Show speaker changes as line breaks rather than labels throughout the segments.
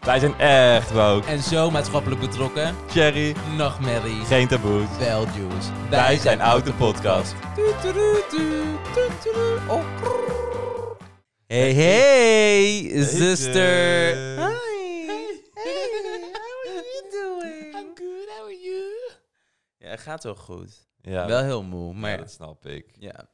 Wij zijn echt woke.
En zo maatschappelijk betrokken.
Cherry,
Nog merrie.
geen taboes.
Wel juice.
Wij zijn Out The Podcast.
Tueturutu, tueturu, oh, krrr. Hey, hey, zuster.
Hey.
how are you doing? I'm good, how are you? Ja, het gaat wel goed.
Ja,
Wel heel moe, maar
ja,
ja.
dat snap ik.
ja.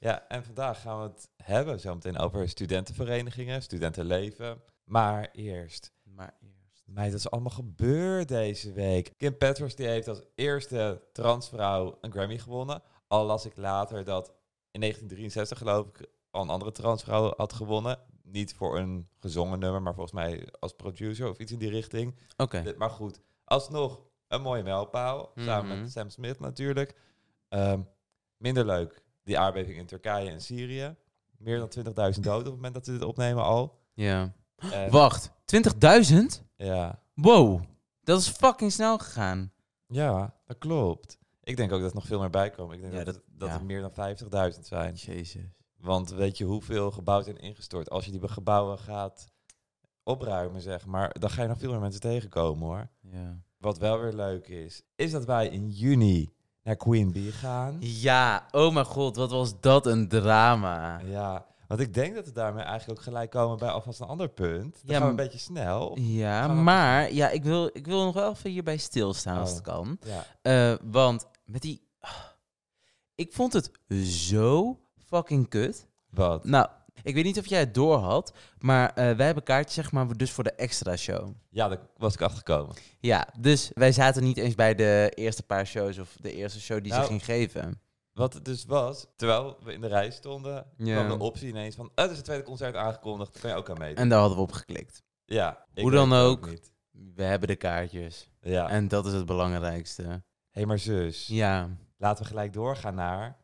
Ja, en vandaag gaan we het hebben zometeen over studentenverenigingen, studentenleven. Maar eerst,
Maar eerst.
meid, dat is allemaal gebeurd deze week. Kim Petras die heeft als eerste transvrouw een Grammy gewonnen. Al las ik later dat in 1963 geloof ik al een andere transvrouw had gewonnen. Niet voor een gezongen nummer, maar volgens mij als producer of iets in die richting.
Oké.
Dit- Maar goed, alsnog een mooie mijlpaal. Samen
Mhm.
met Sam Smith natuurlijk. Ehm, minder leuk, die aardbeving in Turkije en Syrië. Meer dan 20.000 doden op het moment dat we dit opnemen al.
Ja.
En-
Wacht, 20.000?
ja.
Wow, dat is fucking snel gegaan.
ja, dat klopt. Ik denk ook dat er nog veel meer bij komen. Ik denk
Ja,
dat,
dat-
dat
ja.
er meer dan 50.000 zijn.
Jezus.
Want weet je hoeveel gebouwen zijn ingestort? Als je die gebouwen gaat opruimen, zeg maar, dan ga je nog veel meer mensen tegenkomen hoor.
Ja.
Wat wel weer leuk is, is dat wij in juni naar Queen Bee gaan.
Ja, oh mijn god, wat was dat een drama.
Ja, want ik denk dat we daarmee eigenlijk ook gelijk komen bij alvast een ander punt. Dan
Ja,
gaan we een
m-
beetje snel.
Ja,
Gaan we-
maar ja, ik, wil, ik wil nog wel even hierbij stilstaan als
Oh.
het kan.
Ja,
Eh, want met die... Ik vond het zo fucking kut.
wat?
Nou, ik weet niet of jij het door had, maar eh, wij hebben kaartjes zeg maar dus voor de extra show.
Ja, daar was ik achtergekomen.
Ja, dus wij zaten niet eens bij de eerste paar shows of de eerste show die
Nou,
ze ging geven.
Wat het dus was, terwijl we in de rij stonden,
Ja.
kwam de optie ineens van... Oh, er is een tweede concert aangekondigd, daar kan je ook aan meedoen.
En daar hadden we op geklikt.
Ja, ik
Hoe dan
weet het
ook.
niet.
We hebben de kaartjes.
Ja.
En dat is het belangrijkste.
Hé, maar zus,
Ja.
laten we gelijk doorgaan naar...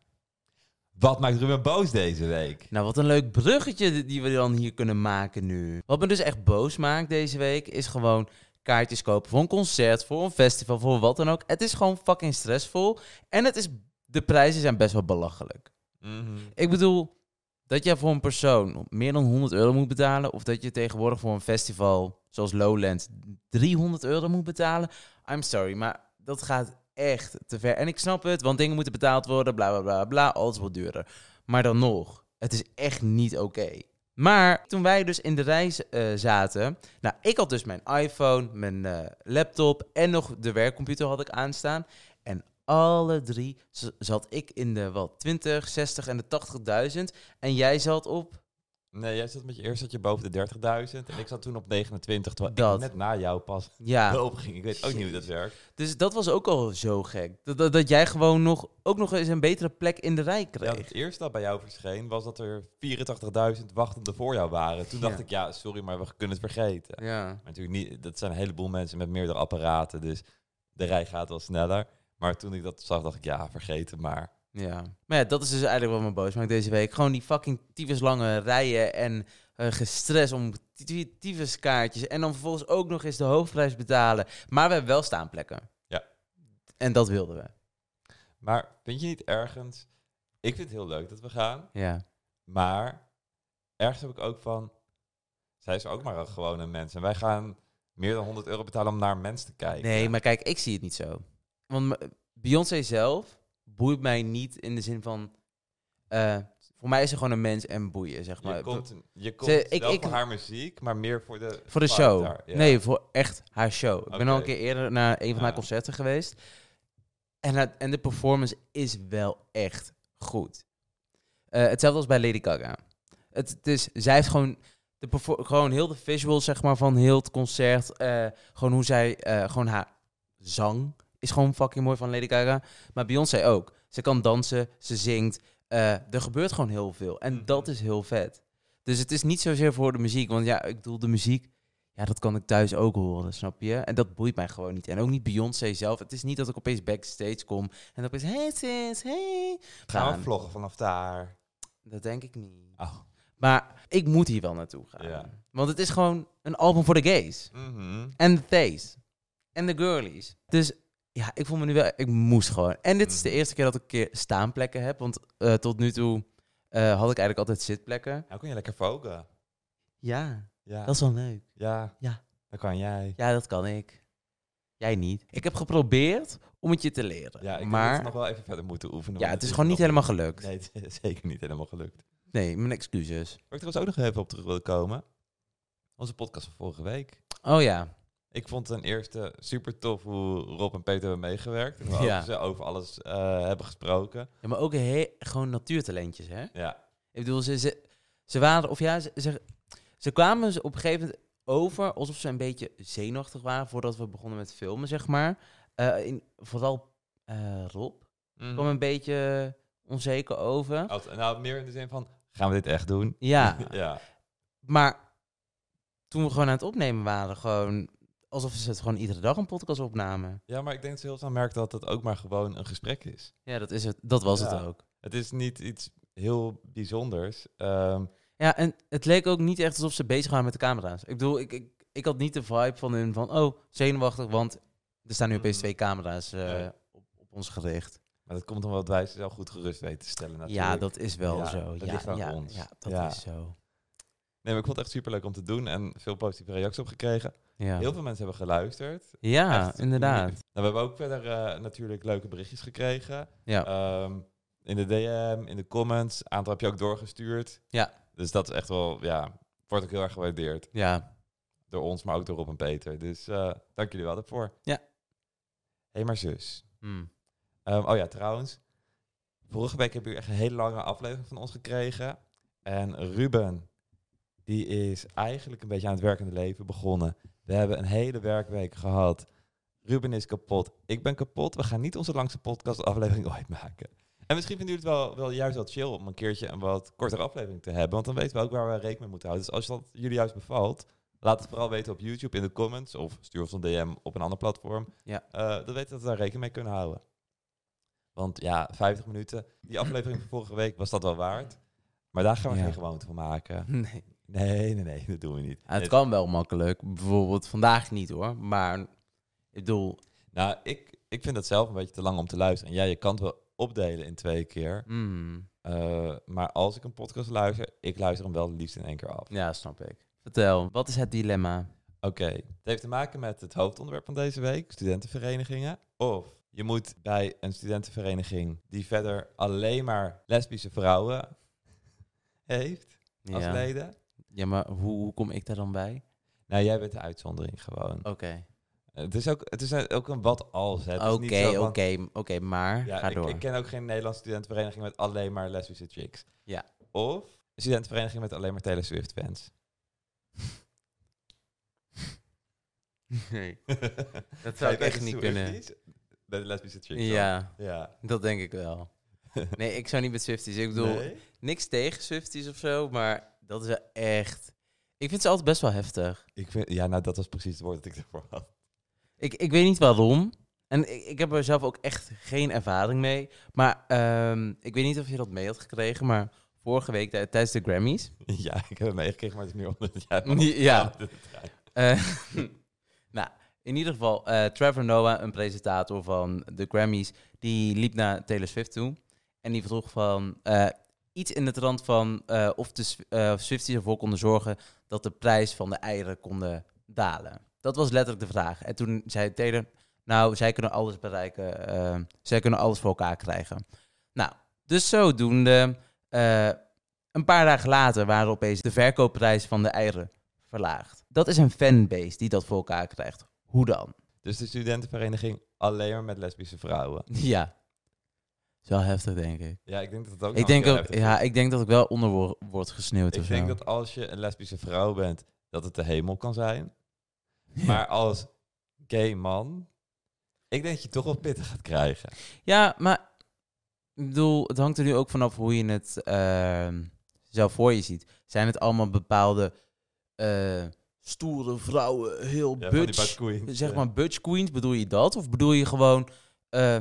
Wat maakt Ruben boos deze week?
Nou, wat een leuk bruggetje d- die we dan hier kunnen maken nu. Wat me dus echt boos maakt deze week is gewoon kaartjes kopen voor een concert, voor een festival, voor wat dan ook. Het is gewoon fucking stressvol. En het is, de prijzen zijn best wel belachelijk. Mm. Ik bedoel, dat jij voor een persoon meer dan 100 euro moet betalen. Of dat je tegenwoordig voor een festival zoals Lowland 300 euro moet betalen. I'm sorry, maar dat gaat echt te ver. En ik snap het, want dingen moeten betaald worden, bla bla bla bla. Alles wordt duurder. Maar dan nog, het is echt niet oké. Maar toen wij dus in de reis eh, zaten. Nou, ik had dus mijn iPhone, mijn eh, laptop en nog de werkcomputer had ik aanstaan. En alle drie z- zat ik in de wat 20, 60 en de 80.000. En jij zat op.
Nee, jij zat met je eerst zat je boven de 30.000 en ik zat toen op 29, terwijl
Dat. Ah.
ik net na jou pas
Ja,
opging. Ik weet ook niet hoe dat werkt.
dus dat was ook al zo gek. Dat, dat, dat jij gewoon nog, ook nog eens een betere plek in de rij
Ja,
kreeg.
het eerste dat bij jou verscheen was dat er 84.000 wachtenden voor jou waren. Toen dacht
Ja.
ik, ja, sorry, maar we kunnen het vergeten.
Ja.
Maar natuurlijk niet, dat zijn een heleboel mensen met meerdere apparaten, dus de rij gaat wel sneller. Maar toen ik dat zag, dacht ik, ja, vergeet het maar.
Ja. Maar ja, dat is dus eigenlijk wat me boos maakt deze week. Gewoon die fucking tyfuslange rijen en eh gestres om ty- tyfuskaartjes. En dan vervolgens ook nog eens de hoofdprijs betalen. Maar we hebben wel staanplekken.
Ja.
En dat wilden we.
Maar vind je niet ergens... Ik vind het heel leuk dat we gaan,
Ja.
maar ergens heb ik ook van... Zij is ook maar een gewone mens en wij gaan meer dan 100 euro betalen om naar een mens te kijken.
Nee, maar kijk, ik zie het niet zo. Want m- Beyoncé zelf boeit mij niet in de zin van... eh, voor mij is ze gewoon een mens en boeien, zeg maar.
Je komt, je komt
Ze- ik-
wel
ik-
voor haar muziek, maar meer voor de...
Voor de
vibe
show.
daar, ja.
Nee, voor echt haar show. Ik ben al een
Oké.
keer eerder naar een van haar
Ja.
concerten geweest. En, het- en de performance is wel echt goed. Eh, hetzelfde als bij Lady Gaga. Het, het is, zij heeft gewoon, de perfo- gewoon heel de visual zeg maar, van heel het concert. eh, gewoon hoe zij, eh, gewoon haar zang is gewoon fucking mooi van Lady Gaga. Maar Beyoncé ook. Ze kan dansen, ze zingt. eh, er gebeurt gewoon heel veel. En
Mhm.
dat is heel vet. Dus het is niet zozeer voor de muziek. Want ja, ik bedoel, de muziek, ja, dat kan ik thuis ook horen, snap je? En dat boeit mij gewoon niet. En ook niet Beyoncé zelf. Het is niet dat ik opeens backstage kom en dan opeens, hey sis, hey.
Gaan
gaan.
we vloggen vanaf daar.
Dat denk ik niet.
Oh.
Maar ik moet hier wel naartoe gaan.
Ja.
Want het is gewoon een album voor de gays.
Mhm.
En de thees. En de girlies. Dus ja, ik voel me nu wel... Ik moest gewoon. En dit is de
Mhm.
eerste keer dat ik een keer staanplekken heb. Want eh, tot nu toe eh, had ik eigenlijk altijd zitplekken.
Nou kun je lekker vogelen.
Ja,
Ja.
dat is wel leuk.
ja.
ja.
Dat kan jij.
Ja, dat kan ik. Jij niet. Ik heb geprobeerd om het je te leren.
Ja, ik maar...
maar
nog wel even verder moeten oefenen.
ja,
want
het is gewoon niet
nog-
helemaal gelukt. Nee,
Nee, het is zeker niet helemaal gelukt.
mijn excuses.
Waar ik trouwens ook nog even op terug wil komen. Onze podcast van vorige week.
Oh ja.
Ik vond ten eerste super tof hoe Rob en Peter hebben meegewerkt. En hoe
Ja.
ze over alles eh, hebben gesproken.
ja maar ook he- gewoon natuurtalentjes, hè?
Ja,
Ik bedoel, ze, ze, ze waren, of ja, ze, ze, ze kwamen ze op een gegeven moment over alsof ze een beetje zenuwachtig waren voordat we begonnen met filmen, zeg maar. Eh, in, vooral eh, Rob
Mhm.
kwam een beetje onzeker over.
Als- nou, meer in de zin van, gaan we dit echt doen?
Ja,
ja.
maar toen we gewoon aan het opnemen waren, gewoon alsof ze het gewoon iedere dag een podcast opnamen.
ja, maar ik denk dat ze heel snel merken dat het ook maar gewoon een gesprek is.
Ja, dat, is het, dat was
Ja.
het ook.
Het is niet iets heel bijzonders. Ehm,
Ja, en het leek ook niet echt alsof ze bezig waren met de camera's. Ik bedoel, ik, ik, ik had niet de vibe van hun van, oh, zenuwachtig, want er staan nu opeens
Mm.
twee camera's eh,
Nee.
op, op ons gericht.
maar dat komt omdat wij ze wel goed gerust weten te stellen natuurlijk.
Ja, dat is wel
Ja,
zo.
dat
ja,
ligt aan
ja,
ons.
ja, dat
Ja.
is zo.
Nee, maar ik vond het echt superleuk om te doen en veel positieve reacties op gekregen.
Ja,
Heel veel mensen hebben geluisterd.
ja
Echt,
inderdaad.
Nou, we hebben ook verder eh, natuurlijk leuke berichtjes gekregen.
Ja.
Ehm, in de DM, in de comments. Een aantal heb je ook doorgestuurd.
Ja.
Dus dat is echt wel, ja, wordt ook heel erg gewaardeerd.
ja.
Door ons, maar ook door Rob en Peter. Dus eh, dank jullie wel daarvoor.
Ja.
Hé, hey, maar zus.
Hm.
Ehm, oh ja, trouwens. Vorige week heb ik echt een hele lange aflevering van ons gekregen. En Ruben, die is eigenlijk een beetje aan het werkende leven begonnen. We hebben een hele werkweek gehad. Ruben is kapot. Ik ben kapot. We gaan niet onze langste podcastaflevering ooit maken. En misschien vinden jullie het wel, wel juist wat chill om een keertje een wat kortere aflevering te hebben. Want dan weten we ook waar we rekening mee moeten houden. Dus als dat jullie juist bevalt, laat het vooral weten op YouTube in de comments. Of stuur ons een DM op een ander platform.
Ja.
Eh, dan weten we dat we daar rekening mee kunnen houden. Want ja, 50 minuten. Die aflevering van vorige week was dat wel waard. Maar daar gaan we
Ja.
geen gewoonte van maken.
Nee.
Nee, nee, nee, dat doen we niet.
Ja, het
Nee,
kan wel makkelijk. Bijvoorbeeld vandaag niet hoor. Maar ik bedoel,
Nou, ik, ik vind dat zelf een beetje te lang om te luisteren. En ja, je kan het wel opdelen in twee keer.
mm,
Eh, maar als ik een podcast luister, ik luister hem wel het liefst in één keer af.
ja, snap ik. Vertel, wat is het dilemma?
Oké, het heeft te maken met het hoofdonderwerp van deze week, studentenverenigingen. Of je moet bij een studentenvereniging die verder alleen maar lesbische vrouwen heeft als
ja.
leden.
ja, maar hoe, hoe kom ik daar dan bij?
Nou, jij bent de uitzondering gewoon.
Oké.
Het is ook, het is ook een wat als. hè. Het is niet zo
Oké,
van-
oké, oké, maar
Ja,
ga
ik,
door.
ik ken ook geen Nederlandse studentenvereniging met alleen maar lesbische chicks.
Ja.
Of een studentenvereniging met alleen maar Taylor Swift fans.
Nee, dat
Zijn
zou ik echt niet kunnen.
Swifties? Bij de lesbische chicks. dan?
Ja,
ja.
dat denk ik wel. Nee, ik zou niet met Swifties. Ik bedoel,
Nee?
niks tegen Swifties of zo, maar dat is wel echt... Ik vind ze altijd best wel heftig.
Ik vind, ja, nou dat was precies het woord dat ik ervoor had.
Ik, ik weet niet waarom. En ik, ik heb er zelf ook echt geen ervaring mee. Maar ehm, ik weet niet of je dat mee had gekregen, maar vorige week tij- tijdens de Grammys...
Ja, ik heb hem meegekregen, maar het is meer onder het jaar.
Ja, Eh, nou, in ieder geval, eh, Trevor Noah, een presentator van de Grammys, die liep naar Taylor Swift toe. En die vroeg van eh, iets in de trant van eh, of de Sw- eh, Swifties ervoor konden zorgen dat de prijs van de eieren konden dalen. Dat was letterlijk de vraag. En toen zei Taylor, nou, zij kunnen alles bereiken. eh, zij kunnen alles voor elkaar krijgen. Nou, dus zodoende, eh, een paar dagen later waren opeens de verkoopprijs van de eieren verlaagd. Dat is een fanbase die dat voor elkaar krijgt. Hoe dan?
Dus de studentenvereniging alleen maar met lesbische vrouwen.
Ja. is wel heftig, denk ik.
Ja, ik denk dat dat ook namelijk
Ik denk,
heel
ook,
heftig is.
ja, ik denk dat ik wel onder wo- word gesneeuwd of
Ik
zo.
denk dat als je een lesbische vrouw bent, dat het de hemel kan zijn.
Ja.
Maar als gay man, ik denk dat je toch wel pitten gaat krijgen.
Ja, maar... Ik bedoel, het hangt er nu ook vanaf hoe je het ehm, zelf voor je ziet. Zijn het allemaal bepaalde eh, stoere vrouwen, heel
Ja, van die
butch?
bad queens.
Zeg maar butch queens, bedoel je dat? Of bedoel je gewoon eh,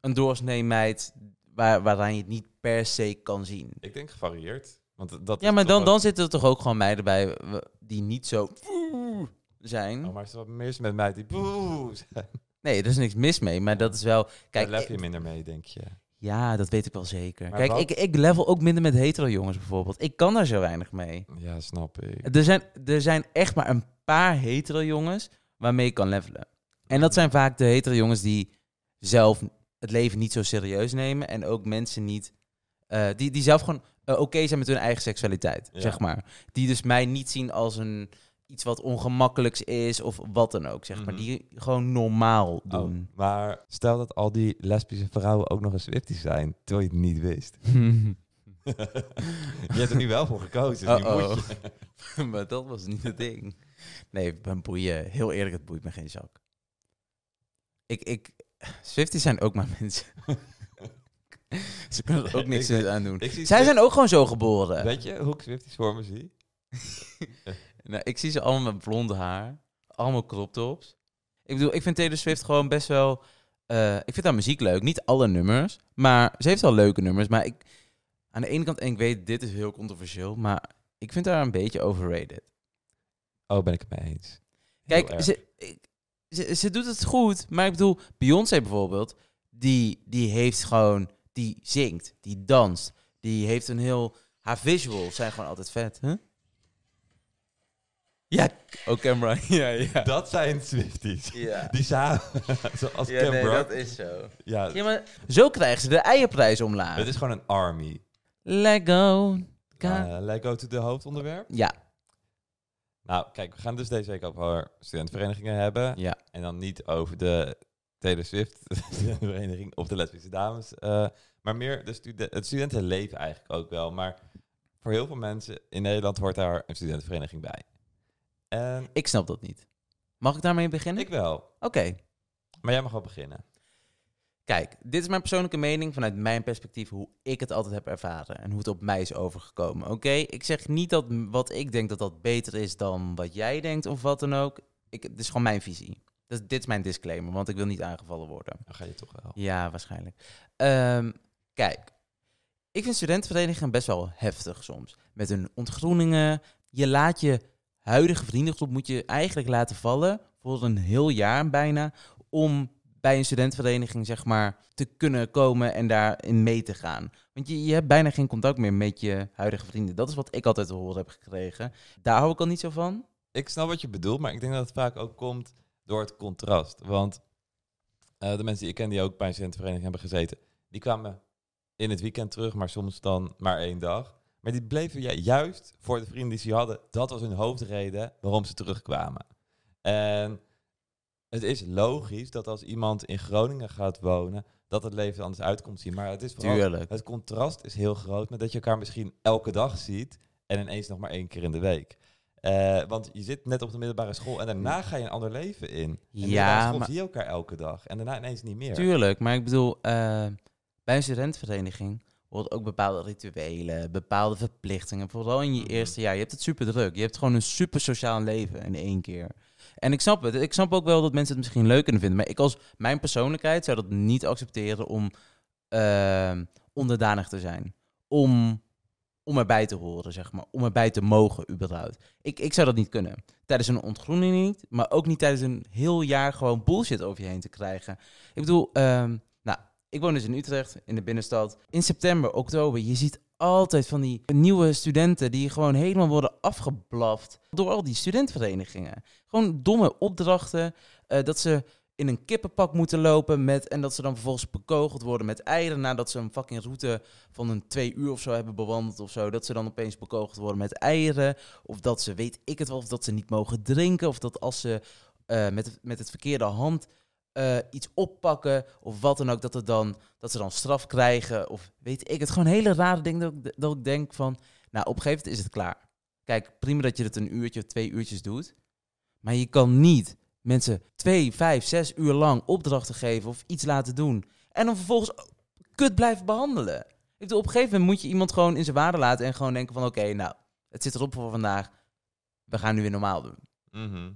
een doorsnee meid waar, waaraan je het niet per se kan zien?
Ik denk gevarieerd. Want dat
Ja,
is
maar
toch
dan,
wel-
dan zitten er toch ook gewoon meiden bij eh, die niet zo
Oh,
zijn.
maar het is wel meer met mij die boe zijn.
Nee, er is niks mis mee, maar dat is wel...
Kijk,
Kijk, eh,
lef je
ik-
minder mee, denk je.
ja, dat weet ik wel zeker.
Maar
Kijk,
wat-
ik, ik level ook minder met hetero jongens bijvoorbeeld. Ik kan daar zo weinig mee.
Ja, snap ik.
Er zijn, er zijn echt maar een paar hetere jongens waarmee je kan levelen. En dat zijn vaak de hetere jongens die zelf het leven niet zo serieus nemen. En ook mensen niet. eh, die, die zelf gewoon eh, oké zijn met hun eigen seksualiteit,
Ja.
zeg maar. Die dus mij niet zien als een iets wat ongemakkelijks is of wat dan ook, zeg maar.
Mhm.
Die gewoon normaal
Oh,
doen.
maar stel dat al die lesbische vrouwen ook nog eens Swifties zijn, terwijl je het niet wist. je hebt er nu wel voor gekozen, dus nu
Uh-oh.
moet je.
maar dat was niet het ding. Nee, ben boeien. Heel eerlijk, het boeit me geen zak. Ik, ik, Swifties zijn ook maar mensen. Ze kunnen er ook
Ik
niks
weet-
aan doen.
Ik zie
Zij
Swif-
zijn ook gewoon zo geboren.
Weet je hoe ik Swifties voor me zie?
Nou, ik zie ze allemaal met blonde haar. Allemaal crop tops. Ik bedoel, ik vind Taylor Swift gewoon best wel... eh, ik vind haar muziek leuk. Niet alle nummers. Maar ze heeft wel leuke nummers. Maar ik, aan de ene kant, en ik weet, dit is heel controversieel. Maar ik vind haar een beetje overrated.
Oh, ben ik het mee eens. Heel
Kijk,
erg.
ze, ik- ze, ze doet het goed. Maar ik bedoel, Beyoncé bijvoorbeeld, die, die heeft gewoon, die zingt, die danst, die heeft een heel. Haar visuals zijn gewoon altijd vet, hè? Ja, k- oh, camera. Ja, ja.
Dat zijn Swifties.
Ja,
Die samen, zoals Kim Rock.
is zo.
Ja,
Ja, maar zo krijgen ze de eierprijs omlaag.
het is gewoon een army.
Let go. Ka-
Eh, Let's go to de hoofdonderwerp.
Ja,
Nou, kijk, we gaan dus deze week over studentenverenigingen hebben.
ja.
En dan niet over de Taylor Swift vereniging of de lesbische dames. eh, maar meer de stude- het studentenleven eigenlijk ook wel. Maar voor heel veel mensen in Nederland hoort daar een studentenvereniging bij. En
Ik snap dat niet. Mag ik daarmee beginnen?
ik wel.
Oké.
Maar jij mag wel beginnen.
Kijk, dit is mijn persoonlijke mening vanuit mijn perspectief hoe ik het altijd heb ervaren en hoe het op mij is overgekomen. Oké, ik zeg niet dat m- wat ik denk dat dat beter is dan wat jij denkt of wat dan ook. Ik, het is gewoon mijn visie. Dus dit is mijn disclaimer, want ik wil niet aangevallen worden.
Dan ga je toch wel.
Ja, waarschijnlijk. Ehm, kijk, ik vind studentenverenigingen best wel heftig soms. Met hun ontgroeningen. Je laat je huidige vriendengroep moet je eigenlijk laten vallen voor een heel jaar bijna om bij een studentenvereniging zeg maar te kunnen komen en daarin mee te gaan. Want je, je hebt bijna geen contact meer met je huidige vrienden. Dat is wat ik altijd te horen heb gekregen. Daar hou ik al niet zo van.
Ik snap wat je bedoelt, maar ik denk dat het vaak ook komt door het contrast. Want eh, de mensen die ik ken die ook bij een studentenvereniging hebben gezeten, die kwamen in het weekend terug, maar soms dan maar één dag. Maar die bleven ju- juist voor de vrienden die ze hadden, dat was hun hoofdreden waarom ze terugkwamen. En het is logisch dat als iemand in Groningen gaat wonen, dat het leven er anders uitkomt zien. Maar het is vooral
Tuurlijk.
het contrast is heel groot met dat je elkaar misschien elke dag ziet en ineens nog maar één keer in de week. Eh, want je zit net op de middelbare school en daarna ga je een ander leven in. En de
Ja,
middelbare school
maar-
zie je elkaar elke dag en daarna ineens niet meer.
Tuurlijk, maar ik bedoel, eh, bij een studentenvereniging hoort ook bepaalde rituelen, bepaalde verplichtingen. Vooral in je
Mhm.
eerste jaar. Je hebt het super druk. Je hebt gewoon een super sociaal leven in één keer. En ik snap het. Ik snap ook wel dat mensen het misschien leuk kunnen vinden. Maar ik als mijn persoonlijkheid zou dat niet accepteren om ehm, onderdanig te zijn. Om, om erbij te horen, zeg maar. Om erbij te mogen, überhaupt. Ik, ik zou dat niet kunnen. Tijdens een ontgroening niet. Maar ook niet tijdens een heel jaar gewoon bullshit over je heen te krijgen. Ik bedoel, ehm, nou, ik woon dus in Utrecht, in de binnenstad. In september, oktober, je ziet altijd van die nieuwe studenten die gewoon helemaal worden afgeblaft door al die studentverenigingen. Gewoon domme opdrachten, eh, dat ze in een kippenpak moeten lopen met, en dat ze dan vervolgens bekogeld worden met eieren nadat ze een fucking route van een twee uur of zo hebben bewandeld of zo. Dat ze dan opeens bekogeld worden met eieren. Of dat ze, weet ik het wel, of dat ze niet mogen drinken. Of dat als ze eh, met, met het verkeerde hand eh, iets oppakken of wat dan ook, dat, het dan, dat ze dan straf krijgen. Of weet ik het, gewoon hele rare dingen dat ik, dat ik denk van, nou op een gegeven moment is het klaar. Kijk, prima dat je het een uurtje of twee uurtjes doet, maar je kan niet mensen twee, vijf, zes uur lang opdrachten geven of iets laten doen en dan vervolgens kut blijven behandelen. Ik bedoel, op een gegeven moment moet je iemand gewoon in zijn waarde laten en gewoon denken van oké, nou, het zit erop voor vandaag, we gaan nu weer normaal doen.
Mhm.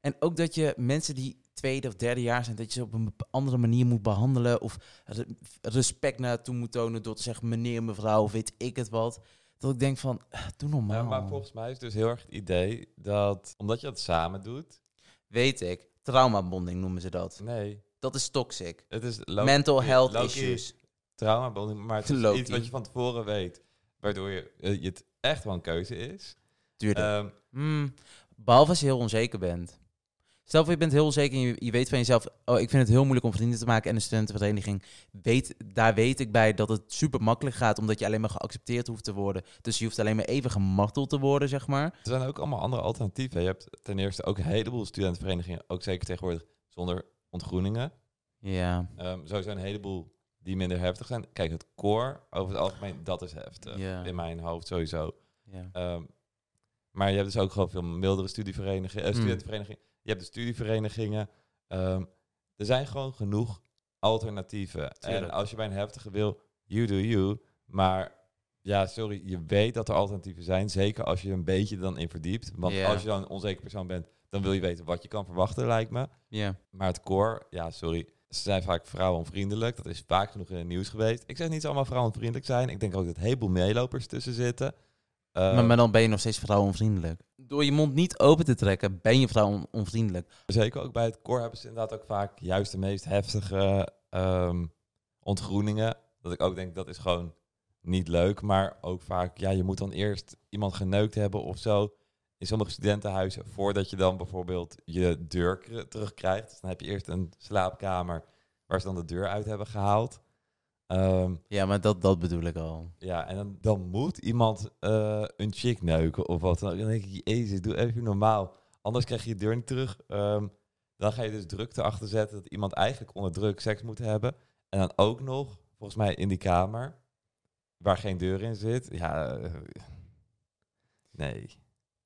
En ook dat je mensen die tweede of derde jaar zijn, dat je ze op een bep- andere manier moet behandelen. Of re- respect naartoe moet tonen door te zeggen meneer, mevrouw, of weet ik het wat. Dat ik denk van, eh, doe normaal.
Ja, maar volgens mij is dus heel erg het idee dat omdat je dat samen doet,
Weet ik, traumabonding noemen ze dat.
nee,
Dat is toxic.
het is lo-
Mental health
low-key
issues.
traumabonding, maar het is
Low-key.
iets wat je van tevoren weet, waardoor je, eh, je het echt wel een keuze is.
Tuurlijk.
Ehm,
Hmm. Behalve als je heel onzeker bent. Stel voor je bent heel onzeker en je, je weet van jezelf... oh, ik vind het heel moeilijk om vrienden te maken en de studentenvereniging... Weet, daar weet ik bij dat het super makkelijk gaat... omdat je alleen maar geaccepteerd hoeft te worden. Dus je hoeft alleen maar even gemarteld te worden, zeg maar.
Er zijn ook allemaal andere alternatieven. Je hebt ten eerste ook een heleboel studentenverenigingen, ook zeker tegenwoordig, zonder ontgroeningen.
Ja,
Ehm sowieso een heleboel die minder heftig zijn. Kijk, het core over het algemeen, dat is heftig.
Ja.
In mijn hoofd sowieso.
ja.
Ehm, maar je hebt dus ook gewoon veel mildere studieverenigingen, eh,
Hmm.
studentenverenigingen. Je hebt de studieverenigingen. Ehm, er zijn gewoon genoeg alternatieven. En
Tuurlijk.
als je bij een heftige wil, you do you. Maar ja, sorry, je weet dat er alternatieven zijn. Zeker als je er een beetje dan in verdiept. Want
Ja.
als je dan een onzeker persoon bent, dan wil je weten wat je kan verwachten, lijkt me.
ja.
Maar het koor, ja, sorry. Ze zijn vaak vrouwenonvriendelijk. Dat is vaak genoeg in het nieuws geweest. Ik zeg niet dat ze allemaal vrouwenvriendelijk zijn. Ik denk ook dat een heleboel meelopers tussen zitten. Eh,
maar, maar dan ben je nog steeds vrouwenonvriendelijk. Door je mond niet open te trekken, ben je vrouwenonvriendelijk.
Zeker ook bij het koor hebben ze inderdaad ook vaak juist de meest heftige ehm, ontgroeningen. Dat ik ook denk, dat is gewoon niet leuk. Maar ook vaak, ja, je moet dan eerst iemand geneukt hebben of zo. In sommige studentenhuizen, voordat je dan bijvoorbeeld je deur kr- terugkrijgt. Dus dan heb je eerst een slaapkamer waar ze dan de deur uit hebben gehaald. Ehm,
Ja, maar dat, dat bedoel ik al.
ja, en dan, dan moet iemand eh, een chick neuken of wat dan ook. Dan denk ik, jezus, doe even normaal. Anders krijg je je deur niet terug. Ehm, dan ga je dus drukte achter zetten dat iemand eigenlijk onder druk seks moet hebben. En dan ook nog, volgens mij, in die kamer waar geen deur in zit. Ja, eh, nee.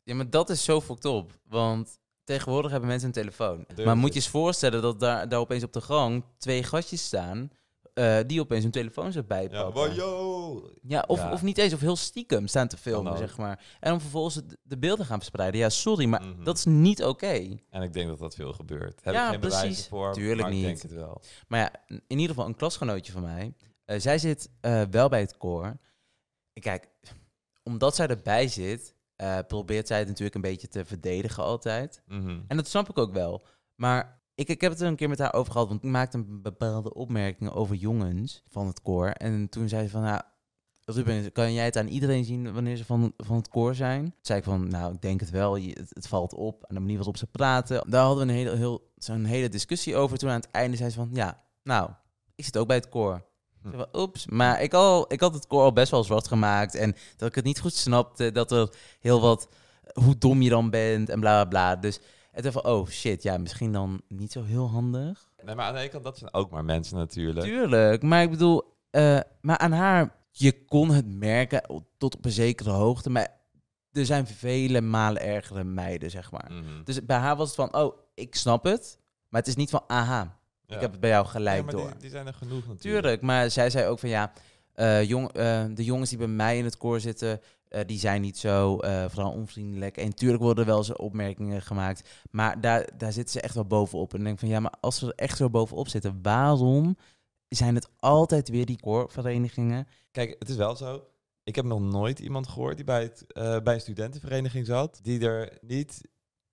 Ja, maar dat is zo fucked op. Want tegenwoordig hebben mensen een telefoon.
Deur
maar moet
zit.
je eens voorstellen dat daar, daar opeens op de gang twee gastjes staan... eh, die opeens hun telefoons erbij
Ja,
pakken.
maar yo!
Ja, of,
Ja.
of niet eens, of heel stiekem staan te filmen,
ook.
zeg maar. En om vervolgens de- de beelden gaan verspreiden. Ja, sorry, maar
Mhm.
dat is niet oké.
En ik denk dat dat veel gebeurt. Heb
Ja,
ik geen
precies.
bewijzen voor,
Tuurlijk
maar
niet.
ik denk het wel.
Maar ja, in ieder geval een klasgenootje van mij. eh, zij zit eh, wel bij het koor. Kijk, omdat zij erbij zit, eh, probeert zij het natuurlijk een beetje te verdedigen altijd.
Mhm.
En dat snap ik ook wel. Maar ik, ik heb het er een keer met haar over gehad. Want ik maakte een bepaalde opmerking over jongens van het koor. En toen zei ze van, nou, Ruben, kan jij het aan iedereen zien wanneer ze van, van het koor zijn? Toen zei ik van, nou, ik denk het wel. Je- het, het valt op aan de manier waarop ze praten. Daar hadden we een hele, heel, zo'n hele discussie over. Toen aan het einde zei ze van, ja, nou, ik zit ook bij het koor.
Hm.
Ik zei van, Oeps, maar ik, al, ik had het koor al best wel zwart gemaakt. En dat ik het niet goed snapte. Dat er heel wat, hoe dom je dan bent en bla bla bla. Dus en toen van, oh shit, ja, misschien dan niet zo heel handig.
Nee, maar aan de ene kant, dat zijn ook maar mensen natuurlijk.
Tuurlijk, maar ik bedoel, eh, maar aan haar, je kon het merken tot op een zekere hoogte. Maar er zijn vele malen ergere meiden, zeg maar.
Mhm.
Dus bij haar was het van, oh, ik snap het. Maar het is niet van, aha,
Ja.
ik heb het bij jou
Ja,
gelijk
maar
door.
Die, die zijn er genoeg natuurlijk.
Tuurlijk, maar zij zei ook van ja, eh, jong, eh, de jongens die bij mij in het koor zitten, eh, die zijn niet zo eh, vooral onvriendelijk. En tuurlijk worden er wel eens opmerkingen gemaakt, maar daar, daar zitten ze echt wel bovenop. En dan denk ik van ja, maar als ze er echt zo bovenop zitten, waarom zijn het altijd weer die koorverenigingen?
Kijk, het is wel zo. Ik heb nog nooit iemand gehoord die bij, het, eh, bij een studentenvereniging zat, die er niet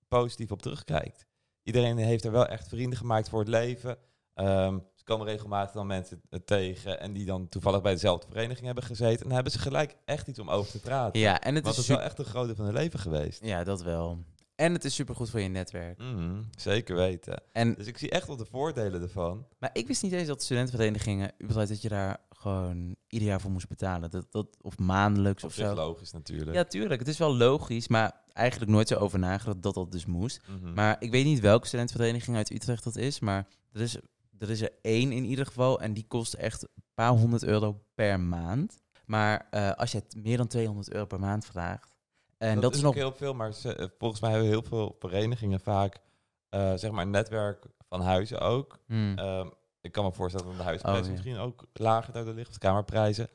positief op terugkijkt. Iedereen heeft er wel echt vrienden gemaakt voor het leven. Ehm ze komen regelmatig dan mensen eh, tegen en die dan toevallig bij dezelfde vereniging hebben gezeten. En dan hebben ze gelijk echt iets om over te praten.
Ja, en het
Want
is
dat is
super,
wel echt een grote van hun leven geweest.
ja, dat wel. En het is supergoed voor je netwerk.
Mhm, zeker weten.
En,
Dus ik zie echt wel de voordelen ervan.
maar ik wist niet eens dat studentenverenigingen, überhaupt dat je daar gewoon ieder jaar voor moest betalen. Dat, dat, of maandelijks
Op
of zo.
zich logisch natuurlijk.
Ja, tuurlijk. Het is wel logisch, maar eigenlijk nooit zo over nagedacht dat dat dus moest.
Mhm.
Maar ik weet niet welke studentenvereniging uit Utrecht dat is, maar er is er, is er één in ieder geval en die kost echt een paar honderd euro per maand. Maar eh, als je het meer dan 200 euro per maand vraagt, en dat, is
ook
nog...
heel veel, maar ze- eh, volgens mij hebben heel veel verenigingen vaak eh, zeg maar een netwerk van huizen ook.
Hmm.
Ehm, ik kan me voorstellen dat de huisprijzen
Oh, ja.
misschien ook lager daardoor liggen, of de kamerprijzen.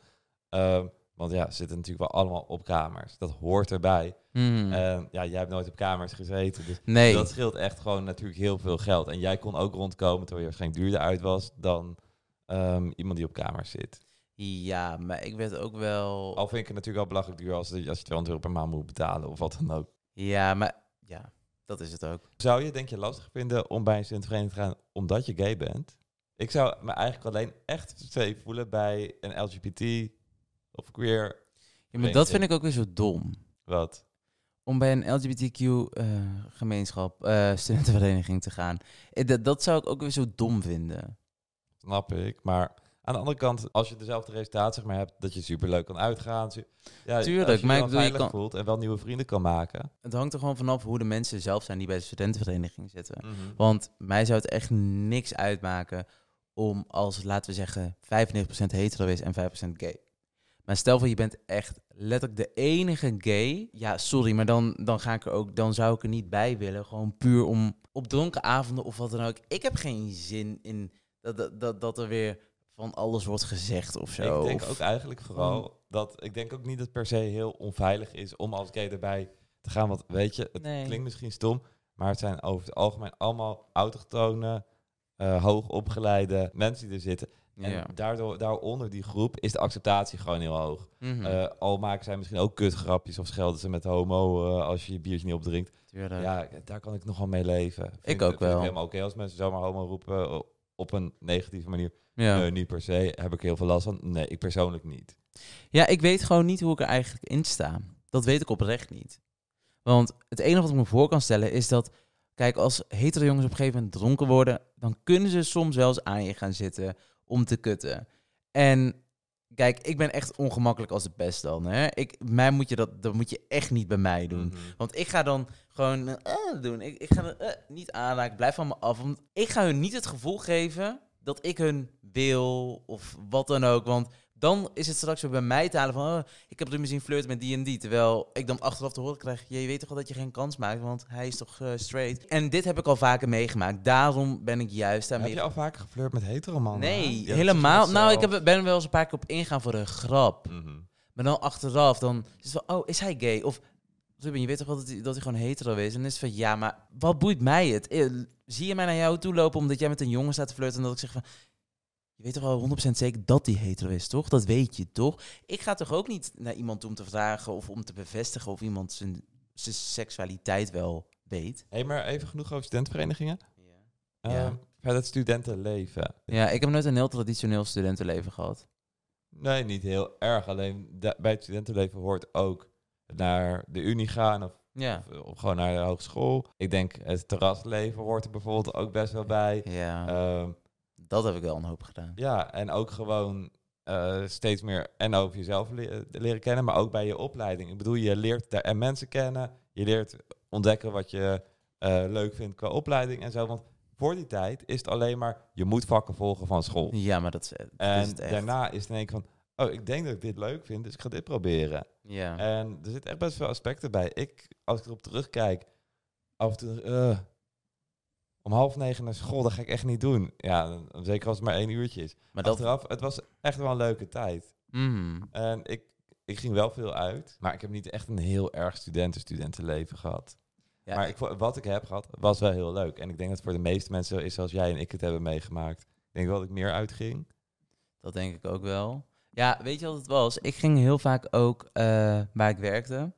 Ehm, want ja, ze zitten natuurlijk wel allemaal op kamers. Dat hoort erbij.
Hmm.
En ja, jij hebt nooit op kamers gezeten. Dus
nee,
eh, dat scheelt echt gewoon natuurlijk heel veel geld. En jij kon ook rondkomen terwijl je waarschijnlijk duurder uit was dan ehm, iemand die op kamers zit.
ja, maar ik werd ook wel...
Al vind ik het natuurlijk wel belachelijk duur als, als je 200 euro per maand moet betalen of wat dan ook.
Ja, maar ja, dat is het ook.
Zou je denk je lastig vinden om bij een studentenvereniging te gaan omdat je gay bent? Ik zou me eigenlijk alleen echt safe voelen bij een LGBT of queer
Ja, maar
Nee,
dat
ik-
vind ik ook weer zo dom.
wat.
om bij een LGBTQ-gemeenschap, eh, studentenvereniging te gaan. Eh, Dat, dat zou ik ook weer zo dom vinden.
Snap ik. Maar aan de andere kant, als je dezelfde resultaten zeg maar, hebt, dat je superleuk kan uitgaan. su- ja,
Tuurlijk,
als je
maar
je
ik
dan
bedoel, je
veilig
kan-
voelt en wel nieuwe vrienden kan maken.
Het hangt er gewoon vanaf hoe de mensen zelf zijn die bij de studentenvereniging zitten. Want mij zou het echt niks uitmaken om als, laten we zeggen, 95% hetero is en 5% gay. Maar stel voor, je bent echt letterlijk de enige gay. Ja, sorry, maar dan, dan, ga ik er ook, dan zou ik er niet bij willen. Gewoon puur om op donkere avonden of wat dan ook. Ik heb geen zin in dat, dat, dat, dat er weer van alles wordt gezegd of zo.
Ik denk
Of-
ook eigenlijk vooral dat ik denk ook niet dat het per se heel onveilig is om als gay erbij te gaan. Want weet je, het
Nee.
klinkt misschien stom, maar het zijn over het algemeen allemaal autochtone, eh hoogopgeleide mensen die er zitten. En
Ja.
daardoor, daaronder die groep is de acceptatie gewoon heel hoog.
Mhm,
Eh, al maken zij misschien ook kutgrapjes of schelden ze met homo eh, als je je biertje niet opdrinkt.
tuurlijk.
Ja, daar kan ik nog wel mee leven. Vind
Ik ook
vind
wel.
helemaal oké als mensen zomaar homo roepen eh, op een negatieve manier.
Ja.
Nee, Eh, niet per se. Heb ik heel veel last van? Nee, ik persoonlijk niet.
Ja, ik weet gewoon niet hoe ik er eigenlijk in sta. Dat weet ik oprecht niet. Want het enige wat ik me voor kan stellen is dat... Kijk, als hetero jongens op een gegeven moment dronken worden... dan kunnen ze soms wel eens aan je gaan zitten om te kutten. En kijk, ik ben echt ongemakkelijk als de pest dan. Hè? Ik, mij moet je dat, dat moet je echt niet bij mij doen. Want ik ga dan gewoon eh, doen. Ik, ik ga er eh, niet aanraken. Ik Blijf van me af. Want ik ga hun niet het gevoel geven dat ik hun wil of wat dan ook. Want dan is het straks weer bij mij te halen van... oh, ik heb hem zien flirten met die en die. Terwijl ik dan achteraf te horen krijg... je weet toch wel dat je geen kans maakt, want hij is toch eh, straight. En dit heb ik al vaker meegemaakt. Daarom ben ik juist daarmee...
Heb je al vaker geflirt met hetero mannen?
nee,
Ja, dat
helemaal.
zeg
Nou, ik
zelf.
heb, ben er wel eens een paar keer op ingaan voor een grap.
Mhm.
Maar dan achteraf, dan is het van, oh, is hij gay? Of, Ruben, je weet toch wel dat hij, dat hij gewoon hetero is? En dan is het van, ja, maar wat boeit mij het? Eh, Zie je mij naar jou toe lopen omdat jij met een jongen staat te flirten... en dat ik zeg van, je weet toch wel 100% zeker dat hij hetero is, toch? Dat weet je, toch? Ik ga toch ook niet naar iemand toe om te vragen of om te bevestigen... of iemand zijn, zijn seksualiteit wel weet.
Hey, maar even genoeg over studentenverenigingen.
Ja.
Ehm, ja, dat studentenleven.
Ja, ik heb nooit een heel traditioneel studentenleven gehad.
Nee, niet heel erg. Alleen da- bij het studentenleven hoort ook naar de unie gaan of
Ja.
Of, of gewoon naar de hogeschool. Ik denk het terrasleven hoort er bijvoorbeeld ook best wel bij.
Ja,
Ehm,
dat heb ik wel een hoop gedaan.
ja, en ook gewoon eh, steeds meer en over jezelf le- leren kennen, maar ook bij je opleiding. Ik bedoel, je leert daar en mensen kennen. Je leert ontdekken wat je eh, leuk vindt qua opleiding en zo. Want voor die tijd is het alleen maar je moet vakken volgen van school.
Ja, maar dat is, dat is
En
het echt.
daarna is het in één keer van, oh, ik denk dat ik dit leuk vind, dus ik ga dit proberen.
Ja.
En er zitten echt best veel aspecten bij. Ik, als ik erop terugkijk, af en toe eh, om half negen naar school, dat ga ik echt niet doen. Ja, dan- dan zeker als het maar één uurtje is.
maar dat...
Achteraf, het was echt wel een leuke tijd.
Mhm.
En ik, ik ging wel veel uit, maar ik heb niet echt een heel erg studenten-studentenleven gehad.
Ja,
maar ik, vo- wat ik heb gehad, was wel heel leuk. En ik denk dat het voor de meeste mensen zo is zoals jij en ik het hebben meegemaakt. Ik denk wel dat ik meer uitging.
Dat denk ik ook wel. Ja, weet je wat het was? Ik ging heel vaak ook eh, waar ik werkte.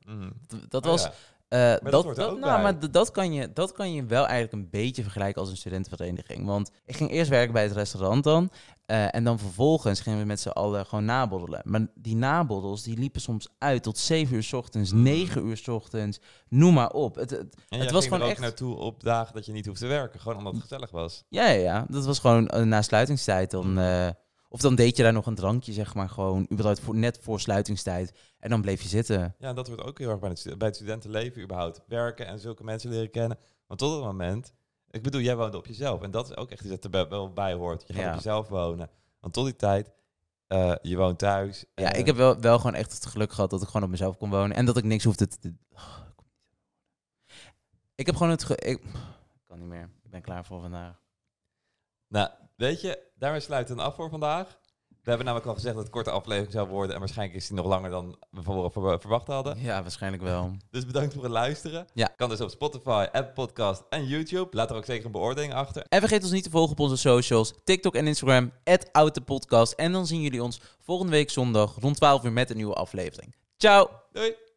Dat, dat
Oh
Mm. was.
ja.
eh,
dat hoort er ook
nou,
bij.
maar d- dat kan, je, dat kan je wel eigenlijk een beetje vergelijken als een studentenvereniging. Want ik ging eerst werken bij het restaurant dan. eh, en dan vervolgens gingen we met z'n allen gewoon naboddelen. Maar die naboddels die liepen soms uit tot 7 uur 's ochtends, 9 uur 's ochtends. Noem maar op. Het, het,
En
Het
het
was
was
gewoon
gewoon ook
echt-
naartoe op dagen dat je niet hoeft te werken. Gewoon omdat het gezellig was.
Ja, ja, ja. Dat was gewoon eh, na sluitingstijd. Dan, eh, of dan deed je daar nog een drankje, zeg maar, gewoon überhaupt voor, net voor sluitingstijd. En dan bleef je zitten.
Ja, en dat wordt ook heel erg bij het, stu- bij het studentenleven überhaupt. Werken en zulke mensen leren kennen. Want tot dat moment, ik bedoel, jij woonde op jezelf. En dat is ook echt iets dat er be- wel bij hoort. Je gaat
Ja.
op jezelf wonen. Want tot die tijd, eh, je woont thuis.
Ja,
eh,
ik heb wel, wel gewoon echt het geluk gehad dat ik gewoon op mezelf kon wonen. En dat ik niks hoefde te... Oh, ik kom niet. ik heb gewoon het... Ge ik ik kan niet meer. Ik ben klaar voor vandaag.
Nou, weet je, daarmee sluiten we dan af voor vandaag. We hebben namelijk al gezegd dat het korte aflevering zou worden. En waarschijnlijk is die nog langer dan we van voren ver- verwacht hadden.
Ja, waarschijnlijk wel.
Dus bedankt voor het luisteren.
Ja.
Kan dus op Spotify, Apple Podcast en YouTube. Laat er ook zeker een beoordeling achter.
En vergeet ons niet te volgen op onze socials. TikTok en Instagram. @outepodcast. En dan zien jullie ons volgende week zondag rond 12 uur met een nieuwe aflevering. Ciao!
Doei!